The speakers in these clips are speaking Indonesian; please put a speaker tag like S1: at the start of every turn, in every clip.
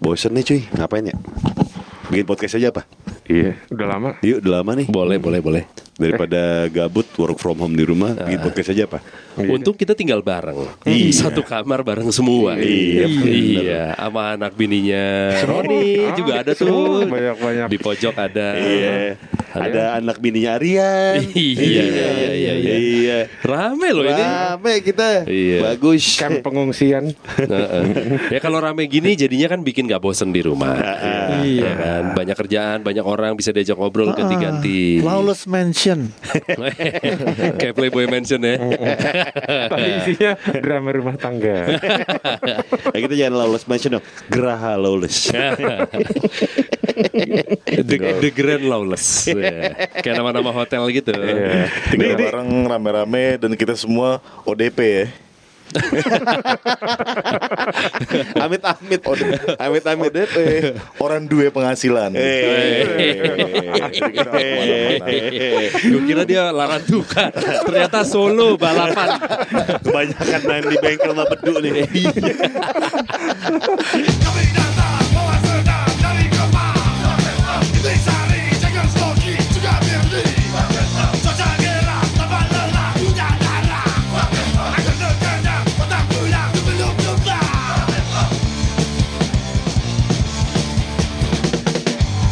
S1: Bosen nih cuy, ngapain ya? Bikin podcast aja apa?
S2: Iya, udah lama.
S1: Yuk, udah lama nih.
S3: Boleh, boleh, boleh.
S1: Daripada gabut work from home di rumah,
S3: Ah.
S1: bikin podcast aja apa?
S3: Untung kita tinggal bareng. Satu kamar bareng semua.
S1: Iya,
S3: Iya, sama anak bininya. Roni
S2: Ah,
S3: juga ada
S2: semua
S3: tuh.
S2: banyak-banyak.
S3: Di pojok ada.
S1: Iya. Ada anak bininya Aryan.
S3: Iya, iya, iya, iya.
S1: Iya.
S3: Rame loh ini.
S1: Rame kita.
S3: Iya.
S1: Bagus.
S2: Kan pengungsian.
S3: Heeh. ya kalau rame gini jadinya kan bikin gak bosen di rumah. Iya kan? Banyak kerjaan, banyak orang bisa diajak ngobrol ganti-ganti.
S4: Ah, Lawless Mansion.
S3: Kayak Playboy Mansion ya.
S2: Tapi isinya drama rumah tangga.
S1: Ya, kita jangan lawless mention dong. Geraha lawless.
S3: the, the Grand Lawless. Ya. Kayak nama-nama hotel gitu.
S2: Iya.
S5: Tinggal bareng rame-rame dan kita semua ODP ya.
S1: Amit amit. Amit amit.
S5: ODP. Orang dua penghasilan. Jadi kita kemana-mana.
S3: Gue kira dia larantuka Ternyata solo balapan
S1: Kebanyakan main di bengkel sama bedu nih.
S6: Kami datang bawa sedang dari kemah Di sari jangan sloki juga birli Cuaca gerah tanpa lelah punya darah Akan terkena otak pulang sebelum lupa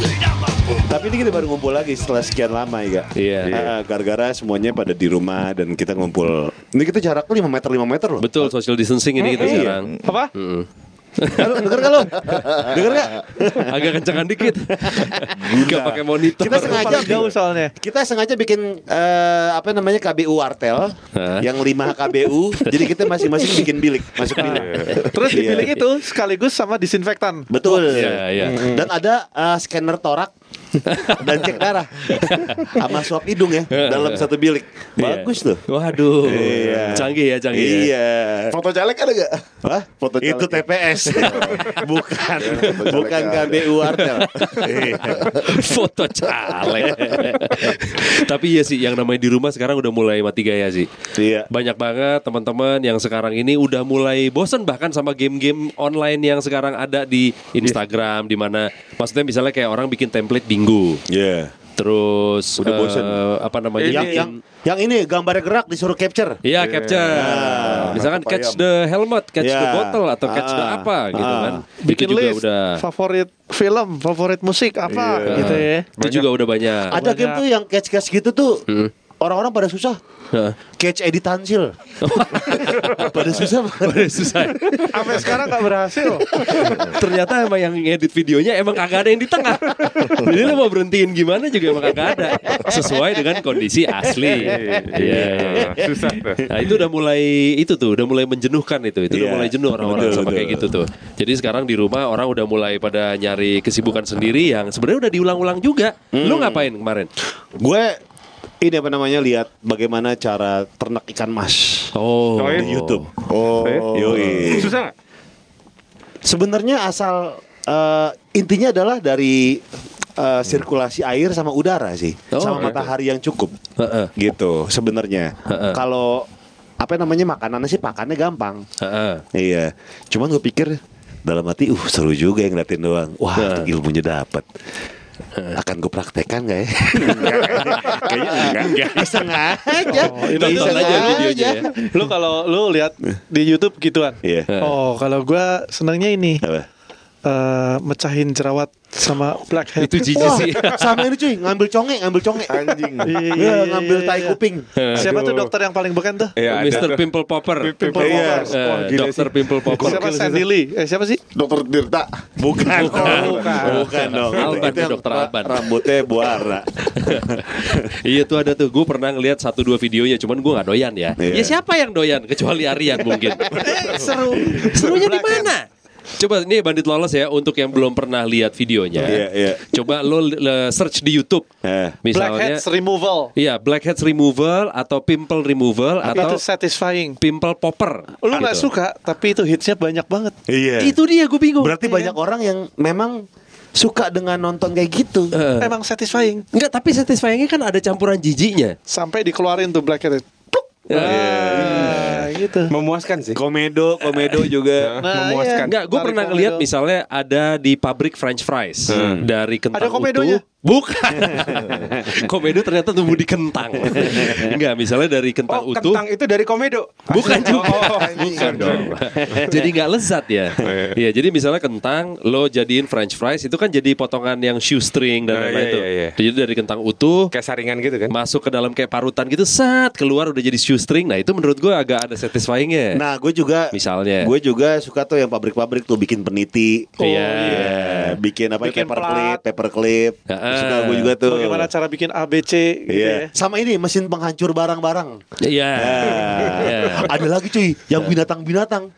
S6: Tidak mampu
S1: Tapi ini kita baru ngumpul lagi setelah sekian lama ya. Kak?
S3: Iya.
S1: Ah, Gara-gara semuanya pada di rumah dan kita ngumpul. Ini kita jaraknya 5 meter 5 meter loh.
S3: Betul social distancing ini kita
S1: Iya.
S3: sekarang
S2: Apa?
S1: Lu Denger gak lo? Denger gak?
S3: Agak kencangan dikit Gak pakai monitor
S1: Kita sengaja
S4: Paling jauh soalnya.
S1: Kita sengaja bikin eh, apa namanya KBU Artel
S3: Hah?
S1: yang 5 KBU. jadi kita masing-masing bikin bilik, masuk bilik.
S4: Terus di
S1: Iya.
S4: bilik itu sekaligus sama disinfektan.
S1: Betul.
S3: Iya, iya.
S1: Dan ada eh, scanner torak dan cek darah sama swab hidung ya dalam satu bilik.
S3: Iya.
S1: Bagus tuh.
S3: Waduh
S1: Iya.
S3: Canggih ya canggih ya.
S1: Iya.
S5: Foto caleg ada gak?
S1: Hah?
S5: Foto caleg.
S1: Itu TPS. bukan
S5: foto caleg
S1: bukan
S5: ada.
S1: KBU Artel. Iya.
S3: foto caleg. Tapi iya sih, yang namanya di rumah sekarang udah mulai mati gaya sih.
S1: Iya.
S3: Banyak banget teman-teman yang sekarang ini udah mulai bosen bahkan sama game-game online yang sekarang ada di Instagram di mana maksudnya misalnya kayak orang bikin template bingo.
S1: Iya.
S3: Terus
S1: Udah
S3: eh,
S1: bosen.
S3: apa namanya?
S1: Yang
S3: bikin-
S1: yang yang ini gambarnya gerak disuruh capture.
S3: Iya capture Misalkan
S5: Kebayang.
S3: catch the helmet Catch the
S1: Iya.
S3: bottle Atau catch the
S1: Ah,
S3: apa gitu
S1: ah.
S3: kan
S4: Bikin
S3: Itu juga
S4: list
S3: udah
S4: favorit film, favorit musik apa
S3: Iya.
S4: gitu ya.
S3: Itu juga udah banyak
S1: Ada
S4: Banyak.
S1: game tuh yang catch-catch gitu tuh orang-orang pada susah.
S3: Heeh.
S1: Catch Edi Tansil. pada susah banget.
S3: Udah susah
S4: Sampai sekarang nggak berhasil.
S3: Ternyata emang yang ngedit videonya emang kagak ada yang di tengah. Jadi lo mau berhentiin gimana juga emang kagak ada. Sesuai dengan kondisi asli. Iya.
S2: Susah tuh.
S3: Nah itu udah mulai itu tuh udah mulai menjenuhkan itu itu udah
S1: Iya.
S3: mulai jenuh orang-orang
S1: Betul,
S3: sama
S1: betul.
S3: kayak gitu tuh jadi sekarang di rumah orang udah mulai pada nyari kesibukan sendiri yang sebenarnya udah diulang-ulang juga lu ngapain kemarin
S1: Gue ini apa namanya lihat bagaimana cara ternak ikan mas
S3: oh
S2: Oh,
S1: di YouTube.
S5: Oh.
S1: Yoi.
S2: Susah gak?
S1: Sebenarnya asal eh, intinya adalah dari eh, sirkulasi air sama udara sih,
S3: Oh,
S1: sama
S3: gitu.
S1: matahari yang cukup,
S3: Heeh.
S1: gitu sebenarnya.
S3: Heeh.
S1: Kalau apa namanya makanannya sih pakannya gampang,
S3: Heeh.
S1: iya. Cuman gue pikir dalam hati, uh seru juga yang ngeliatin doang. Wah
S3: Nah.
S1: itu ilmunya dapat. Akan gue praktekan gak ya? Kayaknya enggak. Iseng aja.
S3: Tonton
S1: Iseng
S3: aja videonya ya.
S4: lu kalau lu lihat di YouTube gituan.
S1: Iya.
S4: Oh, kalau gua senangnya ini
S1: Apa?
S4: eh, mecahin jerawat sama
S3: ya.
S4: blackhead.
S3: itu jijik
S1: Wah,
S3: sih
S1: sama ini cuy, ngambil conge, ngambil conge.
S5: Anjing.
S4: Iya, iya,
S1: Iya,
S4: iya,
S1: ngambil
S4: iya,
S1: tai
S4: iya.
S1: kuping.
S4: Siapa tuh dokter yang paling beken tuh?
S2: Iya, ada
S3: Mr.
S2: tuh.
S3: Pimple Popper
S4: Pimple
S2: Iya.
S4: Poppers.
S3: Eh,
S2: Wah, gila
S3: Dr.
S2: sih.
S3: Pimple Popper
S4: Siapa Sandy Lee? Eh siapa sih?
S5: Dokter Tirta.
S1: Bukan, Oh,
S3: Bukan.
S1: bukan, Oh, bukan dong.
S3: Alban,
S1: Itu yang
S3: dokter
S1: ra-
S3: Alban.
S1: Rambutnya buara.
S3: Iya tuh ada tuh Gue pernah ngeliat satu dua videonya Cuman gue gak doyan ya
S1: Iya.
S3: Ya siapa yang doyan Kecuali Aryan mungkin
S4: Seru.
S3: Serunya di mana? Coba ini Bandit Lolos ya Untuk yang belum pernah lihat videonya
S1: Iya, iya.
S3: Coba lo le- search di Youtube
S1: Eh.
S3: Misalnya
S4: Blackheads removal.
S3: Iya Blackheads Removal Atau Pimple Removal Atau
S4: Itu satisfying.
S3: Pimple Popper
S4: Lu nggak
S3: Gitu.
S4: suka, tapi itu hitsnya banyak banget.
S1: Iya.
S3: Itu dia gue bingung
S1: Berarti banyak orang yang memang suka dengan nonton kayak gitu.
S3: Eh.
S4: Emang satisfying.
S3: Enggak tapi satisfyingnya kan ada campuran jijinya
S4: Sampai dikeluarin tuh blackhead. Pluk.
S1: Oh, iya.
S4: Nah, gitu.
S2: Memuaskan sih.
S1: Komedo, komedo juga.
S4: Nah,
S2: memuaskan.
S4: iya.
S3: Enggak, gue
S4: Tarik
S3: pernah
S4: komedo.
S3: ngeliat misalnya ada di pabrik French fries dari kentang
S4: Ada komedonya?
S3: utuh. Bukan. komedo ternyata tumbuh di kentang. Enggak, misalnya dari kentang
S2: Oh,
S3: utuh.
S2: kentang itu dari komedo.
S3: Bukan juga.
S2: Oh,
S3: Bukan dong. jadi nggak lezat ya. Iya, jadi misalnya kentang lo jadiin french fries itu kan jadi potongan yang shoestring dan
S2: Oh,
S3: lain-lain
S2: iya,
S3: tuh.
S2: iya, iya.
S3: Jadi dari kentang utuh
S2: Kayak saringan gitu kan.
S3: masuk ke dalam kayak parutan gitu saat keluar udah jadi shoestring. Nah, itu menurut gua agak ada satisfyingnya.
S1: Nah, gue juga
S3: Eh, Misalnya.
S1: Gue juga suka tuh yang pabrik-pabrik tuh bikin peniti.
S3: Iya.
S1: Eh, bikin apa
S2: Bikin
S1: paper
S2: plat.
S1: clip, paper clip.
S3: Heeh.
S1: Suka gue juga tuh.
S4: Bagaimana cara bikin ABC gitu
S1: Iya.
S4: ya.
S1: Sama ini mesin penghancur barang-barang.
S3: Iya. Iya.
S1: Nah, Ada lagi cuy yang binatang-binatang.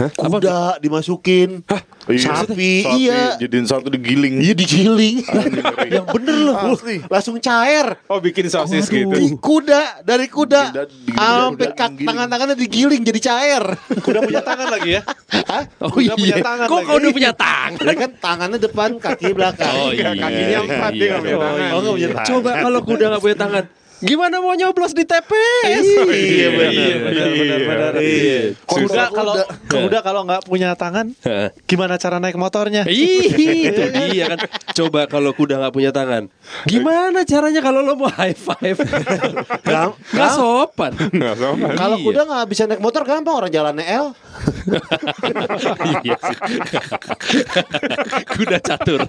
S3: Apa
S1: Kuda dimasukin,
S5: Oh,
S1: sapi, iya.
S5: Jadiin satu digiling.
S1: Iya digiling.
S5: ngeri.
S1: yang bener loh.
S5: Asli.
S1: Langsung cair.
S2: Oh, bikin sosis gitu.
S1: Di kuda dari
S5: Kuda
S1: kuda
S5: digiling,
S1: sampai
S5: kuda
S1: kak-
S5: digiling.
S1: tangan-tangannya digiling jadi cair.
S4: Kuda punya tangan lagi ya.
S1: Hah?
S3: Oh,
S4: Kuda punya
S3: iya.
S4: tangan
S3: Kok
S4: lagi.
S3: kau udah punya tangan?
S1: Dia kan tangannya depan, kaki belakang.
S3: Oh, iya.
S2: Kakinya empat dia nggak punya
S3: Iya.
S2: tangan.
S1: Oh, nggak punya tangan.
S3: Coba kalau kuda nggak punya tangan, gimana mau nyoblos di TPS?
S1: Iya, benar.
S4: benar, benar, benar.
S1: Iya.
S4: Kuda kalau kuda kalau nggak punya tangan,
S3: Heeh.
S4: gimana cara naik motornya?
S1: Iya.
S3: Ih, itu dia kan. Coba kalau kuda nggak punya tangan, gimana caranya kalau lo mau high five?
S1: Gam-
S3: Gak sopan.
S2: Nggak sama.
S1: Kalau
S3: Iya.
S1: kuda nggak bisa naik motor gampang orang jalannya L.
S3: Iya sih. kuda catur.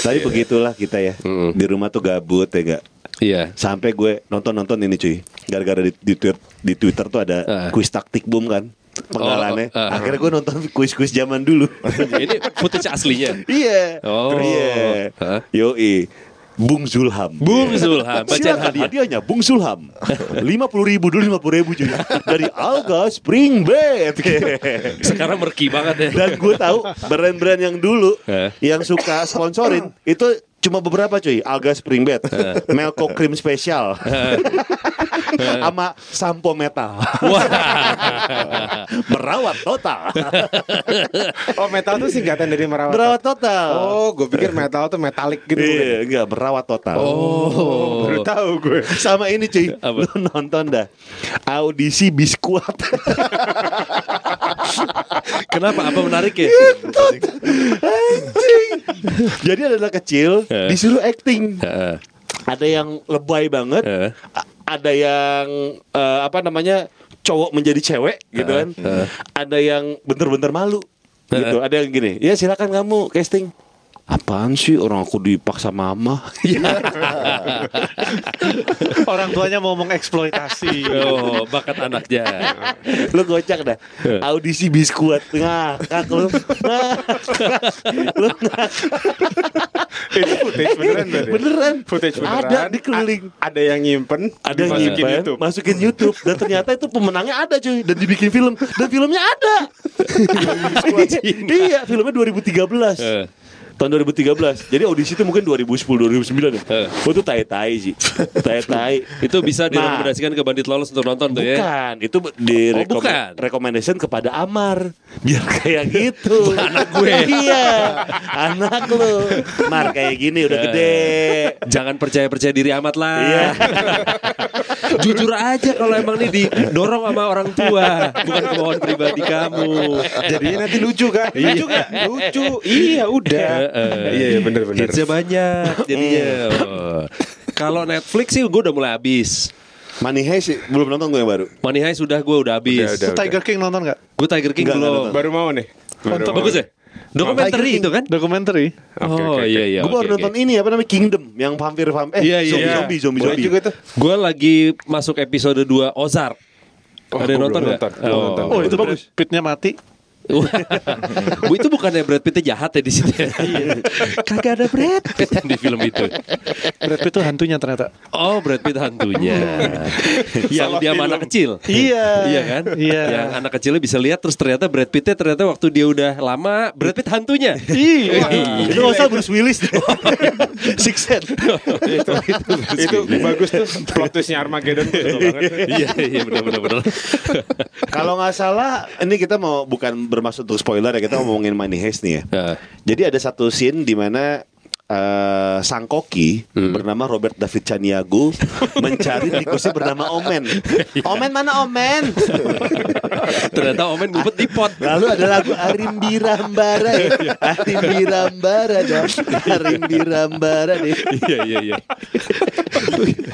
S1: Tapi begitulah kita ya. Di rumah tuh gabut ya gak.
S3: Iya.
S1: Sampai gue nonton-nonton ini cuy. Gara-gara di, di, Twitter, di Twitter tuh ada
S3: Ah.
S1: kuis taktik boom kan. Penggalannya.
S3: Oh, oh, ah.
S1: Akhirnya gue nonton kuis-kuis zaman dulu.
S3: Ini footage aslinya.
S1: iya.
S3: Oh.
S1: Iya.
S3: Hah?
S1: Yoi. Bung Zulham. Iya.
S3: Bung Zulham, bacaan
S1: Silakan
S3: hadiah.
S1: hadiahnya Bung Zulham. 50 ribu dulu 50 ribu cuy. Dari Alga Spring Bed.
S3: Sekarang merki banget ya.
S1: Dan gue tahu brand-brand yang dulu
S3: Eh.
S1: yang suka sponsorin itu cuma beberapa cuy. Alga Spring Bed, Melco Cream Special, sama Sampo Metal.
S3: Wah.
S1: Merawat total.
S2: Oh, metal tuh singkatan dari merawat.
S1: Merawat total.
S2: Oh, gue pikir metal tuh metalik gitu. bukan?
S1: Iya, enggak merawat total.
S3: Oh.
S2: Baru tahu gue.
S1: Sama ini cuy,
S3: Apa?
S1: lu nonton dah audisi biskuat.
S3: Kenapa? Apa menarik ya?
S1: Anjing. Jadi ada anak kecil
S3: Eh.
S1: disuruh acting.
S3: Heeh.
S1: ada yang lebay banget,
S3: Eh.
S1: a- ada yang eh, apa namanya cowok menjadi cewek gitu kan, ada yang bener-bener malu gitu, ada yang gini, ya silakan kamu casting. Apaan sih orang aku dipaksa mama? Ya,
S4: Orang tuanya mau
S1: Iya.
S4: mengeksploitasi.
S3: Oh, bakat anaknya.
S1: lu gocak dah. Audisi biskuat ngakak lu. Ngakak. lu ngakak.
S2: Itu footage beneran berarti. ya?
S1: Beneran.
S2: Footage beneran.
S1: Ada di keliling.
S2: A- ada yang nyimpen,
S1: ada yang
S2: dimasukin
S1: nyimpen,
S2: YouTube.
S1: masukin YouTube dan ternyata itu pemenangnya ada cuy dan dibikin film dan filmnya ada iya filmnya 2013
S3: Eh.
S1: tahun 2013 jadi audisi itu mungkin 2010 2009 ya
S3: Eh.
S1: oh, itu tai tai sih tai tai
S3: Itu bisa
S1: Nah.
S3: direkomendasikan ke bandit lolos untuk nonton tuh ya.
S1: Bukan, itu di
S3: Oh, bukan.
S1: recommendation kepada Amar biar kayak gitu. anak
S3: gue.
S1: iya, anak lu. Mar kayak gini
S3: Eh.
S1: udah gede.
S3: Jangan percaya-percaya diri amat lah.
S1: Iya.
S3: Jujur aja kalau emang ini didorong sama orang tua, bukan kemauan pribadi kamu.
S2: Jadinya nanti lucu kan? lucu kan? Lucu.
S1: Ya
S2: Iya, udah.
S3: Heeh.
S2: Iya, iya bener-bener.
S3: Hitsnya banyak jadinya. Oh. Kalau Netflix sih gue udah mulai habis.
S1: Money Heist belum nonton gue yang baru.
S3: Money Heist sudah gue udah habis.
S2: Udah, udah.
S4: Tiger King nonton nggak?
S3: Gue Tiger King
S1: Enggak,
S3: belum.
S1: enggak
S2: Baru mau nih. Baru mau.
S3: Bagus ya? Dokumenter
S4: Tiger King
S3: itu kan?
S4: Dokumenter.
S2: Oke,
S3: oh
S2: oke,
S3: iya iya.
S1: gue baru
S3: oke, oke.
S1: nonton ini apa namanya Kingdom yang vampir vampir eh
S3: Iya, iya.
S1: zombie,
S2: Iya.
S1: zombie zombie
S2: Boleh
S1: zombie
S2: juga tuh.
S3: Gue lagi masuk episode 2 Ozark.
S2: Oh,
S3: Ada
S2: gua
S3: yang nonton
S2: belum
S3: nggak?
S2: nonton, belum
S3: Oh.
S2: nonton.
S4: Oh, itu bagus. Pitnya mati.
S3: Bu itu bukannya Brad Pittnya jahat ya di sini? Kagak ada Brad Pitt di film itu.
S4: Brad Pitt itu hantunya ternyata.
S3: Oh Brad Pitt hantunya. yang
S5: Salah
S3: dia sama
S5: film.
S3: anak kecil.
S4: Iya.
S3: Iya kan?
S4: Iya.
S3: Yang anak kecilnya bisa lihat terus ternyata Brad Pittnya ternyata waktu dia udah lama Brad Pitt hantunya.
S4: Iya.
S5: Itu nggak usah Bruce Willis Six Sense
S2: itu, itu, bagus tuh plot twistnya Armageddon tuh betul banget.
S3: Iya iya benar benar benar.
S1: Kalau nggak salah, ini kita mau bukan bermaksud untuk spoiler ya, kita mau ngomongin Money Heist nih ya.
S3: Nah,
S1: Jadi ada satu scene di mana eh, Sang Koki bernama Robert David Caniago mencari tikusnya bernama Omen. Omen mana Omen?
S3: ternyata Omen ngumpet di pot.
S1: Lalu ada lagu Arimbirambara ya. Arimbirambara dong. Arimbirambara deh.
S3: Iya iya iya.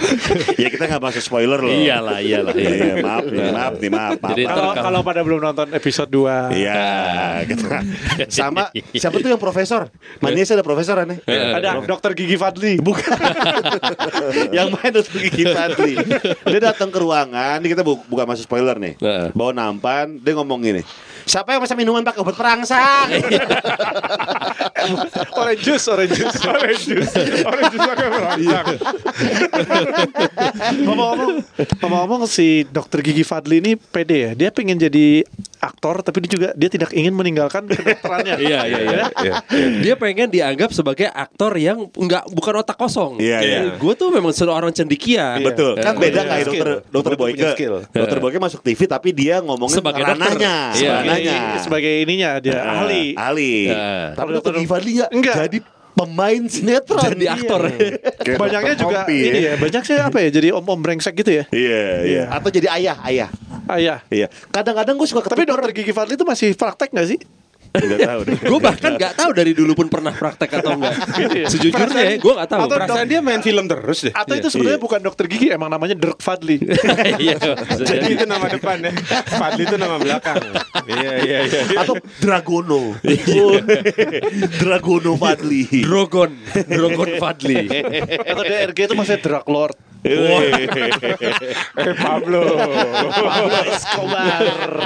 S1: Ya kita nggak masuk spoiler loh.
S3: Iyalah iyalah.
S1: Iya,
S3: Iya.
S1: iya, maaf nih, maaf nih, maaf. maaf,
S3: Jadi
S1: maaf.
S4: Kalau kalau pada belum nonton episode 2
S1: Iya, gitu. sama siapa tuh yang profesor? Manis ada profesor aneh.
S3: Iya.
S4: ada dokter gigi Fadli.
S1: Bukan. yang main untuk gigi tadi. Dia datang ke ruangan, ini kita bu- bukan masuk spoiler nih.
S3: Heeh.
S1: Bawa nampan, dia ngomong gini. Siapa yang masa minuman pakai obat perangsang?
S3: Iya.
S4: Orange juice, orange juice.
S2: Orange juice, orange juice pakai merangsang.
S4: Ngomong-ngomong, ngomong-ngomong si dokter gigi Fadli ini pede ya. Dia pengen jadi aktor tapi dia juga dia tidak ingin meninggalkan kedokterannya. Ya,
S3: Iya iya iya. Dia pengen dianggap sebagai aktor yang nggak bukan otak kosong.
S1: Iya, iya.
S3: Gue tuh memang seorang cendikia.
S1: Betul. Kan
S3: Eh,
S1: beda
S3: iya.
S1: kayak dokter dokter Boyke. Dokter Boyke masuk TV tapi dia ngomongin
S3: Sebagai dokter.
S1: ranahnya,
S3: Iya.
S1: ranahnya.
S4: Ini Sebagai ininya dia
S1: Nah,
S4: ahli.
S1: Ahli. Iya.
S3: Nah.
S1: Tapi dokter Fadli nggak
S4: Enggak.
S1: jadi pemain sinetron. Iya.
S3: Jadi aktor.
S5: Kayak
S4: Banyaknya
S5: Dr.
S4: juga
S5: Pompi,
S4: ini
S5: ya.
S4: ya, banyak sih apa ya jadi om-om brengsek gitu ya.
S1: Iya, iya.
S4: Iya.
S1: Atau jadi ayah, ayah.
S4: Ayah.
S1: Iya. Kadang-kadang gue suka
S4: Tapi
S1: ketuker.
S4: dokter gigi Fadli itu masih praktek gak sih?
S1: Nggak tahu deh.
S3: Gue bahkan nggak tahu dari dulu pun pernah praktek atau enggak. Sejujurnya gue nggak tahu.
S4: Atau
S3: Praktek.
S2: Perasaan dia main film terus deh.
S4: Atau itu sebenarnya bukan dokter gigi, emang namanya Dirk Fadli.
S3: Iya.
S2: Jadi itu nama depan ya. Fadli itu nama belakang. Iya iya iya.
S1: Atau Dragono. Iya. Dragono Fadli.
S3: Drogon, Drogon Fadli.
S4: Atau DRG itu masih Drug Lord.
S2: Eh Pablo.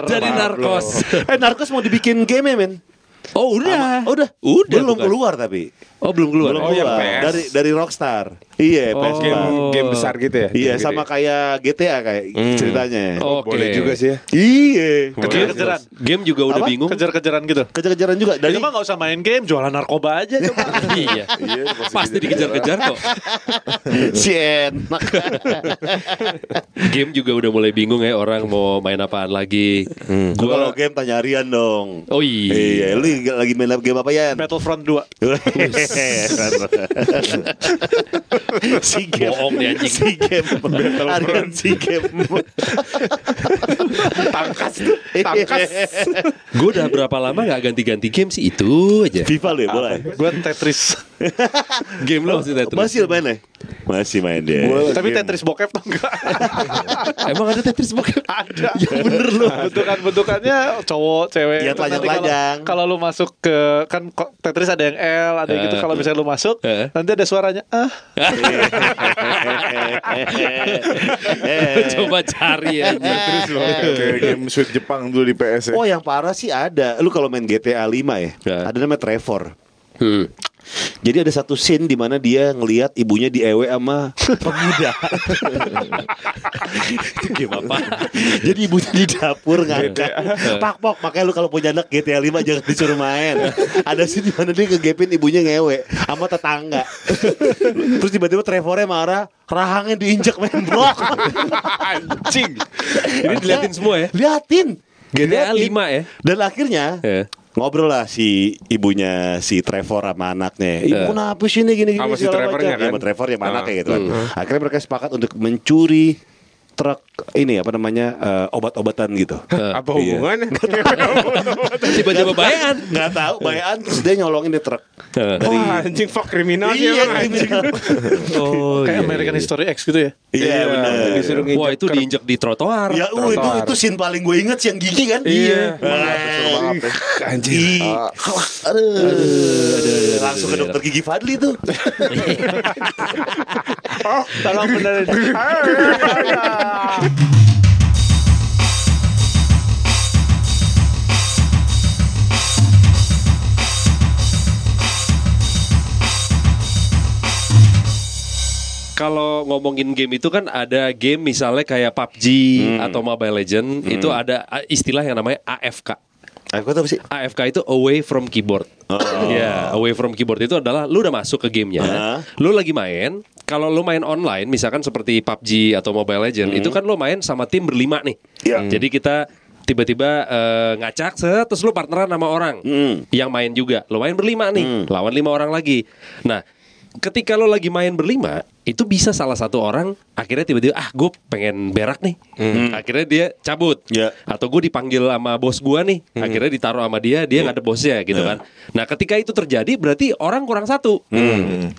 S3: Jadi narkos.
S1: eh Narcos mau dibikin game ya men?
S3: Oh udah.
S1: Ah, Udah. iya,
S3: Udah.
S1: Belum
S3: bukan?
S1: keluar tapi.
S3: Oh belum keluar.
S1: Belum
S2: Oh, yang
S1: keluar.
S2: PS.
S1: Dari dari Rockstar. Iya, PS
S2: Game, game besar gitu ya.
S1: Iya,
S2: Game
S1: sama
S2: gede.
S1: kayak GTA kayak ceritanya.
S3: Oke.
S2: Boleh juga sih ya.
S1: Iya.
S4: Kejar-kejaran.
S3: Oh, Game juga udah
S1: Apa?
S3: bingung.
S4: Kejar-kejaran gitu.
S1: Kejar-kejaran juga
S4: Jadi
S1: dari
S4: mah gak usah main game, jualan narkoba aja coba.
S3: iya. Pasti dikejar-kejar kok.
S1: Sien.
S3: Game juga udah mulai bingung ya orang mau main apaan lagi.
S1: Gua kalau
S3: Gua
S1: game tanya Rian dong.
S3: Oh iya.
S1: Iya, lu lagi main game apa ya?
S4: Battlefront 2.
S1: si game
S3: Bohong dia, anjing.
S1: si game Aryan si game
S2: Tangkas tuh. Tangkas.
S3: Gue udah berapa lama nggak ganti-ganti game sih itu aja.
S1: FIFA lu ya boleh
S4: Gue Tetris.
S3: Game lo masih Tetris.
S1: masih main ya masih main dia
S5: Boleh.
S4: Tapi
S5: Game.
S3: Iya.
S4: Tetris bokep tuh enggak.
S3: Emang ada Tetris bokep?
S4: Ada. Ya bener lu. Bentukan-bentukannya cowok, cewek.
S1: Iya,
S4: Terus nanti kalau-
S1: telanjang-telanjang.
S4: Kalau lu masuk ke kan ko- Tetris ada yang L, ada yang gitu.
S3: Eh.
S4: Kalau misalnya lu masuk,
S3: Eh.
S4: nanti ada suaranya. Ah,
S1: Iya. Eh.
S3: Coba cari ya.
S2: Terus loh.
S5: Kayak game Sweet Jepang dulu di PS ya.
S1: Oh yang parah sih ada Lu kalau main GTA 5 ya
S3: Ya.
S1: Ada namanya Trevor
S3: Hmm.
S1: Jadi ada satu scene di mana dia ngelihat ibunya di ewe sama pemuda. Jadi ibunya di dapur ngangkat.
S3: Iya.
S1: Pak Pok, makanya lu kalau punya anak GTA 5 jangan disuruh main. Ada scene di mana dia ngegepin ibunya ngewe sama tetangga. Terus tiba-tiba Trevornya marah, rahangnya diinjak main brok.
S2: Anjing.
S3: Ini diliatin semua ya.
S1: Liatin.
S3: GTA
S1: Diliatin.
S3: 5 ya.
S1: Dan akhirnya
S3: Ya.
S1: ngobrol lah si ibunya si Trevor sama anaknya. Ibu
S3: Ya.
S1: kenapa sih ini gini gini
S2: Sama si
S1: segala
S2: Trevornya,
S1: macam.
S2: kan?
S1: Ya, sama Trevor yang
S2: Ah.
S1: anaknya gitu kan.
S3: Hmm.
S1: Akhirnya mereka sepakat untuk mencuri truk ini apa namanya eh, obat-obatan gitu.
S3: Nah, iya.
S2: Apa hubungannya?
S3: Tiba-tiba bayangan.
S1: Nggak tahu bayaan terus dia nyolongin di truk.
S2: Wah anjing fuck kriminal sih
S1: Iya,
S2: emang anjing.
S1: kriminal.
S3: Oh,
S4: kayak American History X gitu ya.
S1: Iya benar.
S2: disuruh nginjek
S3: Wah itu
S2: kerb-
S3: diinjak di trotoar.
S1: Ya uh, itu
S2: Trotoar.
S1: itu scene paling gue inget sih yang gigi kan.
S2: Iya.
S1: Wah,
S5: Maaf ya.
S2: Anjing.
S1: Ih, aduh, langsung ke dokter gigi Fadli tuh.
S4: Tolong benerin.
S3: kalau ngomongin game itu kan ada game misalnya kayak PUBG
S1: Hmm.
S3: atau Mobile Legend itu ada uh, istilah yang namanya AFK.
S1: Aku tahu sih.
S3: AFK itu away from keyboard. Iya, away from keyboard itu adalah lu udah masuk ke gamenya,
S1: Ah.
S3: lu lagi main. Kalau lu main online, misalkan seperti PUBG atau Mobile Legend, itu kan lu main sama tim berlima nih. Hmm. Jadi kita tiba-tiba eh, ngacak, set, terus lu partneran sama orang yang main juga. Lu main berlima nih, lawan lima orang lagi. Nah, ketika lo lagi main berlima itu bisa salah satu orang akhirnya tiba-tiba ah gue pengen berak nih Hmm. akhirnya dia cabut
S1: Ya.
S3: atau gue dipanggil sama bos gua nih akhirnya ditaruh sama dia dia nggak ada bosnya gitu kan nah ketika itu terjadi berarti orang kurang satu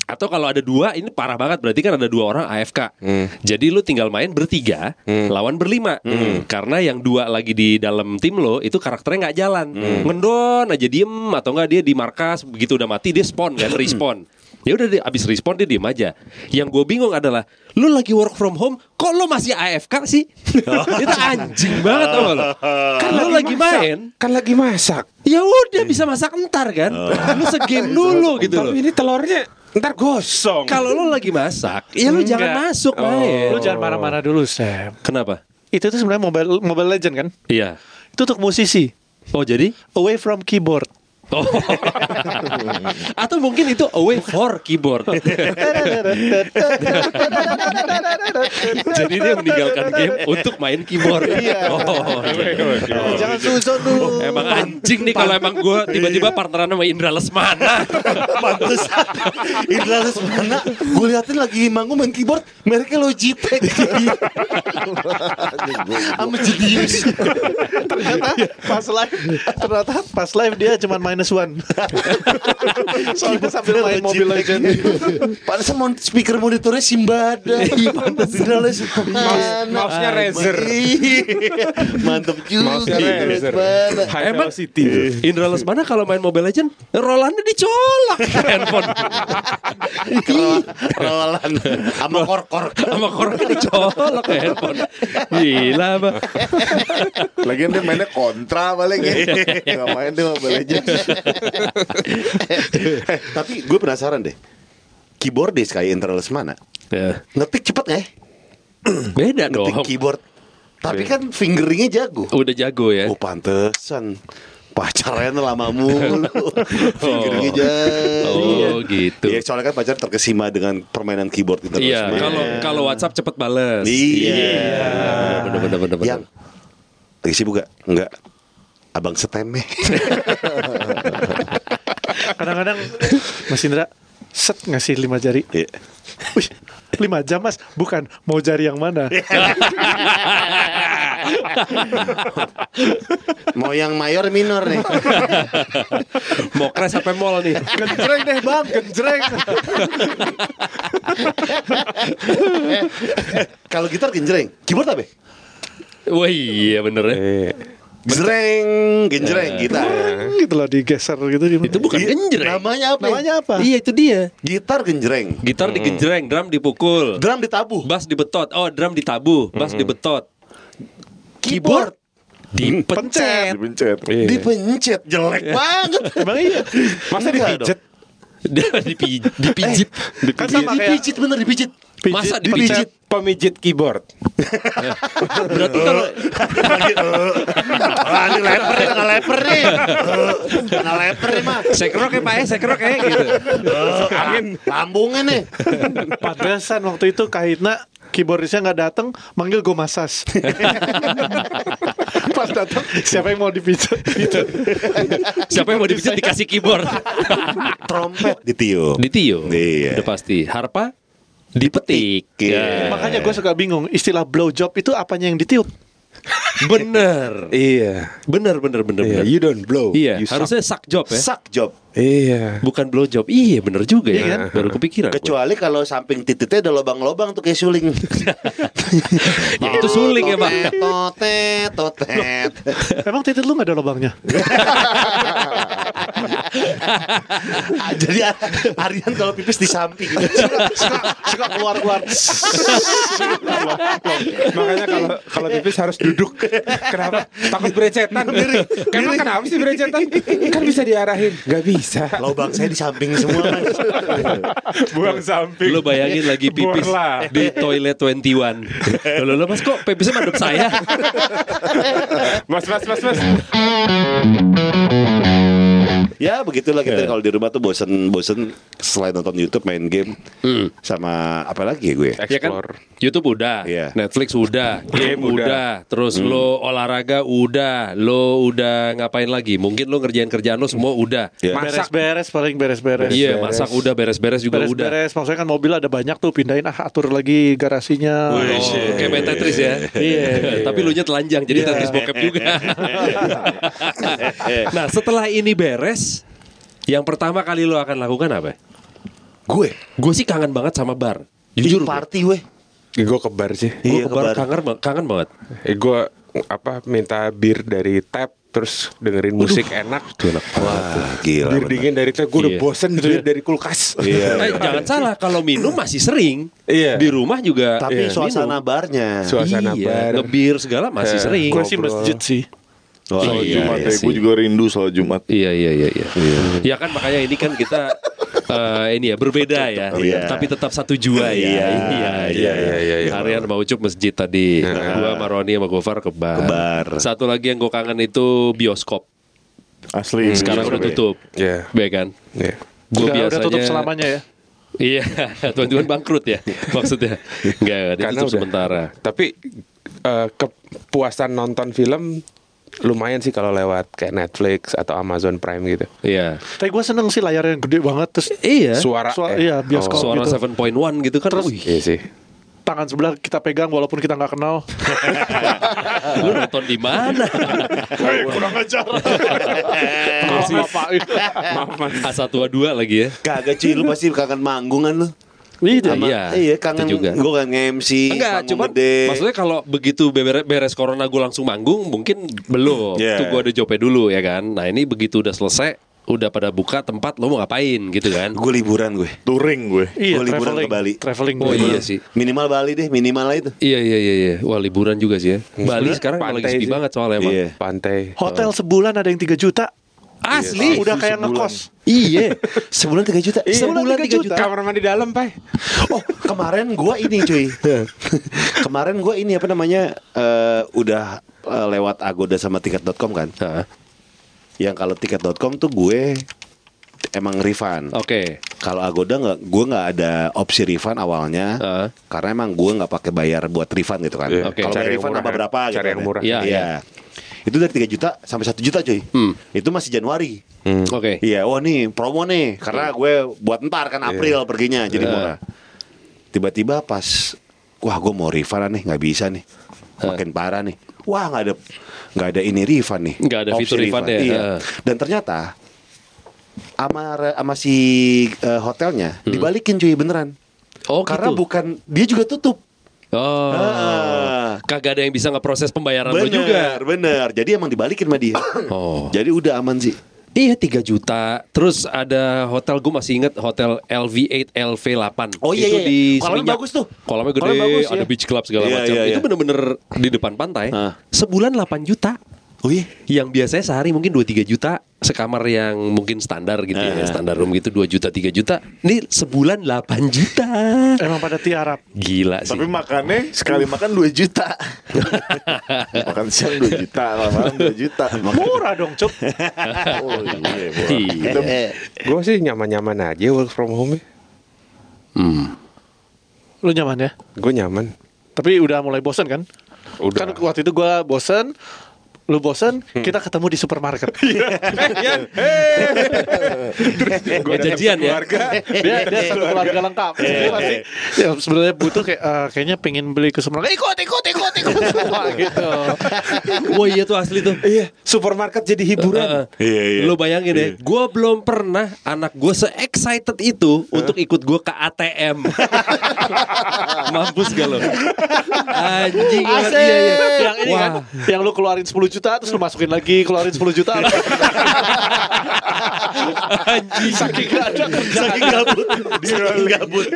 S3: atau kalau ada dua ini parah banget berarti kan ada dua orang AFK jadi lu tinggal main bertiga lawan berlima karena yang dua lagi di dalam tim lo itu karakternya nggak jalan ngendon aja diem atau nggak dia di markas begitu udah mati dia spawn kan respawn ya udah dia abis respon dia diem aja yang gue bingung adalah lu lagi work from home kok lu masih AFK sih itu anjing banget tau gak lu kan lu lagi main
S2: Kan lagi masak.
S3: ya udah bisa masak entar kan lu segame dulu gitu
S2: Oh.
S3: loh
S2: Tapi ini telurnya ntar gosong.
S3: kalau lu lagi masak ya lu jangan masuk main
S4: Lu jangan marah-marah dulu, Sam.
S3: kenapa
S4: Itu tuh sebenarnya Mobile Mobile Legend kan?
S3: iya
S4: Itu untuk musisi.
S3: oh jadi
S4: Away from keyboard.
S3: Oh. Atau mungkin itu away for keyboard. Jadi dia meninggalkan game untuk main keyboard.
S2: Iya.
S3: Oh,
S4: Eh, jangan suzon dulu.
S3: Emang anjing nih kalau emang gue
S2: Iya.
S3: tiba-tiba partneran sama Indra Lesmana.
S1: Pantes Indra Lesmana Gue liatin lagi manggung main keyboard Mereknya Logitech Sama Jenius
S4: ternyata pas live ternyata pas live dia cuma minus one. Soalnya sambil main Mobile Legend.
S1: Pantesan mon- speaker monitornya Simbada Indra
S2: Iya,
S1: Lesmana
S2: mouse-nya Razer.
S1: Iya. Mantep juga
S2: Mouse-nya
S1: Indra
S2: Razer.
S1: Lesmana
S2: High
S3: Emang-
S2: velocity.
S3: Indra Lesmana kalau main Mobile Legend, Rolannya dicolak handphone.
S1: Kerel- Kerelan Sama kor-kor
S3: Sama korek dicolak ke handphone. Gila, Bang.
S5: Lagian dia mainnya kontra paling ya.
S1: Iya.
S5: Nggak main dia Mobile Legends.
S1: Eh, Tapi gue penasaran deh Keyboardis kayak Indra Lesmana
S3: Ya.
S1: Ngetik cepet gak ya?
S3: Beda
S1: Ngetik
S3: dong.
S1: keyboard Tapi kan fingeringnya jago
S3: Udah jago ya.
S1: Oh pantesan pacarnya tuh lama mulu Pikirnya jadi
S3: Oh, gitu.
S1: Iya soalnya kan pacar terkesima dengan permainan keyboard itu
S3: Iya,
S1: terus.
S3: kalau kalau WhatsApp cepet bales.
S1: Iya.
S3: Bener bener bener bener.
S1: Yang Lagi sibuk gak? Enggak Abang seteme
S4: Kadang-kadang Mas Indra set ngasih lima jari.
S1: Iya.
S4: Wih, lima jam mas, bukan mau jari yang mana?
S1: Mau yang mayor minor nih
S3: Mau crash sampai mall nih.
S4: Genjreng deh bang, genjreng.
S1: Kalau gitar genjreng Keyboard apa? ya?
S3: Wah iya bener ya.
S1: Genjreng Genjreng gitar
S4: gitu loh digeser gitu gimana?
S3: Itu Iya. bukan
S1: Iya,
S3: genjreng.
S1: Namanya apa? ya?
S4: Namanya apa?
S3: Iya itu dia.
S1: Gitar genjreng
S3: Gitar digenjreng, drum dipukul,
S1: Hmm. Drum Hmm. ditabuh
S3: bass dibetot. Oh drum ditabuh, bass dibetot. Keyboard dipencet.
S5: Dipencet.
S1: Iya, Dipencet Jelek banget
S4: Emang iya.
S2: Masa dipijit?
S3: Dipi- dipijit.
S4: Kan sama kayak
S1: Dipijit bener dipijit
S3: Masa
S2: Pijit.
S3: dipijit?
S2: Pemijit keyboard.
S3: Berarti kalau
S1: Wah, Ah, ini leper nih, tengah leper nih. Tengah leper nih, Mas.
S3: sekrok ya Pak eh, sekrok ya gitu.
S1: Angin. Lambungnya nih.
S4: Padasan waktu itu Kahitna keyboardisnya nggak datang manggil gue masas pas datang siapa yang mau dipijat
S3: Iya.
S4: gitu
S3: Siapa yang mau dipijit dikasih keyboard.
S1: Trompet ditiup.
S3: Ditio.
S1: Iya.
S3: Udah pasti. Harpa dipetik.
S1: Iya.
S4: makanya gue suka bingung istilah blow job itu apanya yang ditiup
S3: Bener.
S2: Iya.
S3: Bener bener bener.
S2: Iya,
S3: bener.
S2: you don't blow.
S3: Iya,
S2: you suck.
S3: harusnya suck job ya.
S1: Sak job.
S2: Iya.
S3: Bukan blow job. Iya, bener juga ya.
S4: Iya kan?
S3: Baru kepikiran. gua.
S1: Kecuali kalau samping titiknya ada lobang-lobang tuh kayak suling.
S3: ya, itu suling ya, Pak.
S1: Totet, totet.
S4: emang titik lu nggak ada lubangnya
S1: Ah, Jadi Aryan kalau pipis di samping. Suka, suka keluar-keluar.
S2: Makanya kalau kalau pipis harus duduk. Kenapa? Takut berecetan. Kenapa kenapa sih berecetan? Kan bisa diarahin. Gak bisa.
S1: Lobang saya di samping semua. Mas.
S2: Buang samping.
S3: Lu bayangin lagi pipis
S2: Borla.
S3: di toilet 21. Loh, loh, mas kok pipisnya madep saya?
S2: Mas, mas, mas, mas.
S1: ya begitulah kita kalau di rumah tuh bosen-bosen selain nonton YouTube, main game
S3: Hmm.
S1: sama apa lagi ya gue?
S3: ya kan? YouTube udah,
S1: Iya.
S3: Netflix udah, game
S2: Game
S3: udah, terus lo olahraga udah, lo udah ngapain lagi? Mungkin lo ngerjain kerjaan lo semua udah.
S1: Ya.
S2: Masak.
S4: Beres-beres paling Iya. beres-beres.
S3: Iya, masak udah beres-beres juga udah.
S4: Beres-beres maksudnya kan mobil ada banyak tuh pindahin ah atur lagi garasinya.
S3: Oh, kayak main Tetris ya.
S4: Iya.
S3: Tapi lu nya telanjang jadi Tetris bokep juga. nah, setelah ini beres, yang pertama kali lu akan lakukan apa?
S1: Gue
S3: Gue sih kangen banget sama bar. Jujur, gue
S1: party gue.
S2: Gue kebar sih.
S3: gue
S1: Iya,
S3: ke bar
S1: kebar.
S3: kangen, ba- kangen banget.
S2: Eh, gue apa minta bir dari tap terus dengerin musik enak.
S1: Wah, gila.
S2: bir
S1: bener.
S2: dingin dari tap. Gue udah
S3: Iya.
S2: bosen bir dari kulkas.
S1: Iya.
S3: Eh, jangan salah, kalau minum masih sering.
S2: Iya.
S3: Di rumah juga. Iya,
S1: Tapi
S3: minum.
S1: suasana barnya.
S2: Suasana
S3: iya,
S2: bar.
S3: ngebir segala masih
S2: Eh,
S3: sering.
S4: Gue sih masjid sih. eh,
S1: Oh,
S5: Soal
S1: iya,
S5: Jumat
S1: iya
S5: ya,
S1: sih.
S5: gue juga rindu soal Jumat.
S3: Iya iya iya iya. Ya kan makanya ini kan kita eh, ini ya berbeda ya,
S1: Iya.
S3: tapi tetap satu jua ya.
S1: Iya, iya,
S2: iya, iya, iya.
S3: Harian mau cup masjid tadi. Gua sama Roni sama Gofar ke bar.
S1: Ke bar.
S3: Satu lagi yang gue kangen itu bioskop.
S5: Asli.
S3: Sekarang udah tutup.
S2: Iya.
S3: Iya kan?
S2: Iya.
S3: Gue
S4: Udah, udah
S3: biasanya
S4: tutup selamanya ya.
S3: Iya, tuan-tuan bangkrut ya maksudnya. Enggak, dia tutup
S2: udah.
S3: sementara.
S2: Tapi eh, kepuasan nonton film lumayan sih kalau lewat kayak Netflix atau Amazon Prime gitu.
S3: Iya.
S4: Tapi gue seneng sih layarnya yang gede banget terus
S3: Iya.
S2: Suara,
S4: Suara-
S2: eh.
S4: iya, bioskop.
S2: Oh,
S3: Suara
S4: gitu.
S3: 7.1 gitu kan. Wih,
S2: Iya sih.
S4: tangan sebelah kita pegang walaupun kita nggak kenal.
S3: lu nonton di mana?
S4: Kursi.
S3: A1 A2 lagi ya.
S1: Kagak cuy lu pasti kangen manggungan lu.
S4: Iya.
S1: Sama-
S3: Iya,
S1: Iya, kangen
S3: itu juga.
S1: gue kangen MC,
S3: Enggak,
S1: panggung
S3: cuman
S1: gede.
S3: maksudnya kalau begitu beres, beres corona gue langsung manggung mungkin belum.
S1: Iya.
S3: Itu gue ada jobnya dulu ya kan. Nah ini begitu udah selesai, udah pada buka tempat lo mau ngapain gitu kan?
S1: gue liburan gue.
S5: Touring gue.
S4: Iya,
S1: Gua liburan
S4: traveling.
S1: ke Bali.
S4: Traveling.
S3: Oh iya sih.
S1: Minimal Bali deh, minimal lah itu.
S3: Iya iya iya iya. Wah liburan juga sih ya. Bali sekarang emang lagi
S2: pantai
S3: sepi
S2: sih.
S3: banget soalnya emang.
S1: Iya.
S2: Pantai.
S4: Hotel sebulan ada yang 3 juta.
S3: Asli.
S4: Udah kayak
S5: sebulan.
S4: ngekos.
S3: Iya.
S1: Sebulan 3 juta.
S2: Iya,
S4: Sebulan tiga juta.
S2: Kamar mandi dalam, Pak.
S1: Oh, kemarin gua ini cuy. kemarin gua ini apa namanya? eh, udah eh, lewat Agoda sama tiket.com kan.
S3: Hah,
S1: Yang kalau tiket.com tuh gue emang refund.
S3: Oke.
S1: Kalau Agoda nggak, gue nggak ada opsi refund awalnya,
S3: Heeh.
S1: karena emang gue nggak pakai bayar buat refund gitu kan.
S2: Iya.
S3: Oke,
S1: Kalau bayar
S2: cari yang
S1: refund
S2: murah
S1: nambah
S2: kan.
S1: berapa?
S2: Cari
S1: gitu
S2: yang
S1: kan.
S2: murah.
S3: Iya,
S1: Iya. Itu dari 3 juta sampai 1 juta cuy.
S3: Hmm.
S1: Itu masih Januari.
S3: Oke.
S1: Iya, wah nih promo nih, karena gue buat ntar kan April perginya, jadi
S3: Iya.
S1: murah. Tiba-tiba pas, wah gue mau refund nih, nggak bisa nih,
S3: Iya.
S1: makin parah nih. Wah nggak ada, nggak ada ini refund nih.
S3: Nggak ada
S1: Opsi
S3: fitur refund ya,
S1: Iya.
S3: heeh.
S1: Dan ternyata ama re- ama si eh, hotelnya dibalikin cuy beneran.
S3: Hmm. Oh
S1: karena
S3: gitu.
S1: bukan dia juga tutup.
S3: Oh.
S1: Ah.
S3: Kagak ada yang bisa ngeproses pembayaran lo
S1: bener,
S3: juga.
S1: bener. Jadi emang dibalikin sama dia.
S3: Oh.
S1: Jadi udah aman sih.
S3: Iya 3 juta. Terus ada hotel gue masih inget hotel LV8 LV8.
S1: Oh, iya,
S3: Itu
S1: iya.
S3: di
S1: Kolamnya
S3: Seminyak.
S1: bagus tuh.
S3: Kolamnya gede,
S1: Kolamnya bagus,
S3: ada
S1: iya.
S3: beach club segala
S1: Iya,
S3: macam.
S1: iya,
S3: Itu
S1: iya.
S3: bener-bener di depan pantai.
S1: Ah.
S3: Sebulan 8 juta.
S1: Oh iya.
S3: Yang biasanya sehari mungkin 2-3 juta Sekamar yang mungkin standar gitu ya
S1: Ah.
S3: Standar room gitu 2 juta 3 juta Ini sebulan 8 juta
S4: Emang pada tiarap.
S3: Gila sih
S5: Tapi makannya sekali makan 2 juta. makan siang 2 juta, malam 2 juta. Makan
S4: Murah dong, Cuk.
S5: oh, iya, murah.
S3: Iya.
S5: Kita
S2: Gue sih nyaman-nyaman aja work from home.
S4: Lu nyaman ya?
S2: Gue nyaman.
S4: Tapi udah mulai bosen kan?
S2: Udah.
S4: Kan waktu itu gua bosen, lu bosen, kita ketemu di supermarket.
S3: Gua janjian ya
S2: Iya,
S4: dia dia satu keluarga lengkap. Dia pasti ya, sebenarnya butuh kayak eh, kayaknya pengen beli ke supermarket. Ikut, ikut, ikut, ikut semua gitu.
S3: Wah iya tuh asli tuh
S2: Iya, supermarket jadi hiburan.
S5: Iya, iya.
S3: Lo bayangin ya Gue belum pernah Anak gue se-excited itu Untuk ikut gue ke ATM Mampus gak lo Anjing iya, banget, iya, iya.
S4: Yang ini
S3: Wah.
S4: kan, yang lu keluarin 10 juta juta terus lu masukin lagi keluarin 10 juta
S2: Iya,
S3: iya.
S4: saking gak ada
S1: Saking gabut, saking gabut.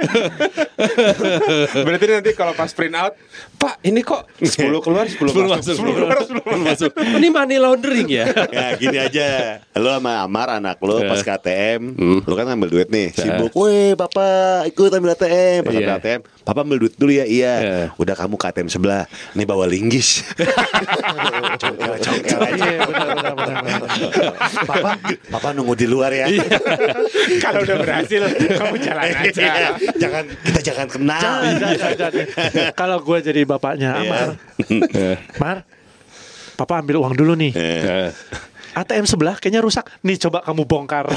S2: Berarti nanti kalau pas print out, Pak ini kok 10 keluar 10
S3: Belum
S2: masuk.
S3: masuk, belum masuk, belum masuk. Ini money laundering ya.
S1: Ya gini aja Lo sama Amar anak lo pas ke ATM Lo kan ngambil duit nih Sibuk Weh papa ikut ambil ATM Pas ambil
S3: Iya.
S1: ATM Papa ambil duit dulu ya Iya
S3: Iya.
S1: Udah kamu ke ATM sebelah Nih bawa linggis Congkel-congkel aja
S4: Iya,
S2: Iya.
S1: Papa Papa nunggu di luar ya
S2: Kalau udah berhasil, kamu jalan
S1: Iya.
S2: aja.
S1: Jangan Kita jangan kenal
S4: Ah, iya, kalau gue jadi bapaknya
S2: Iya.
S4: Amar
S1: Iya.
S4: Mar Papa ambil uang dulu nih
S2: Iya.
S4: ATM sebelah kayaknya rusak Nih coba kamu bongkar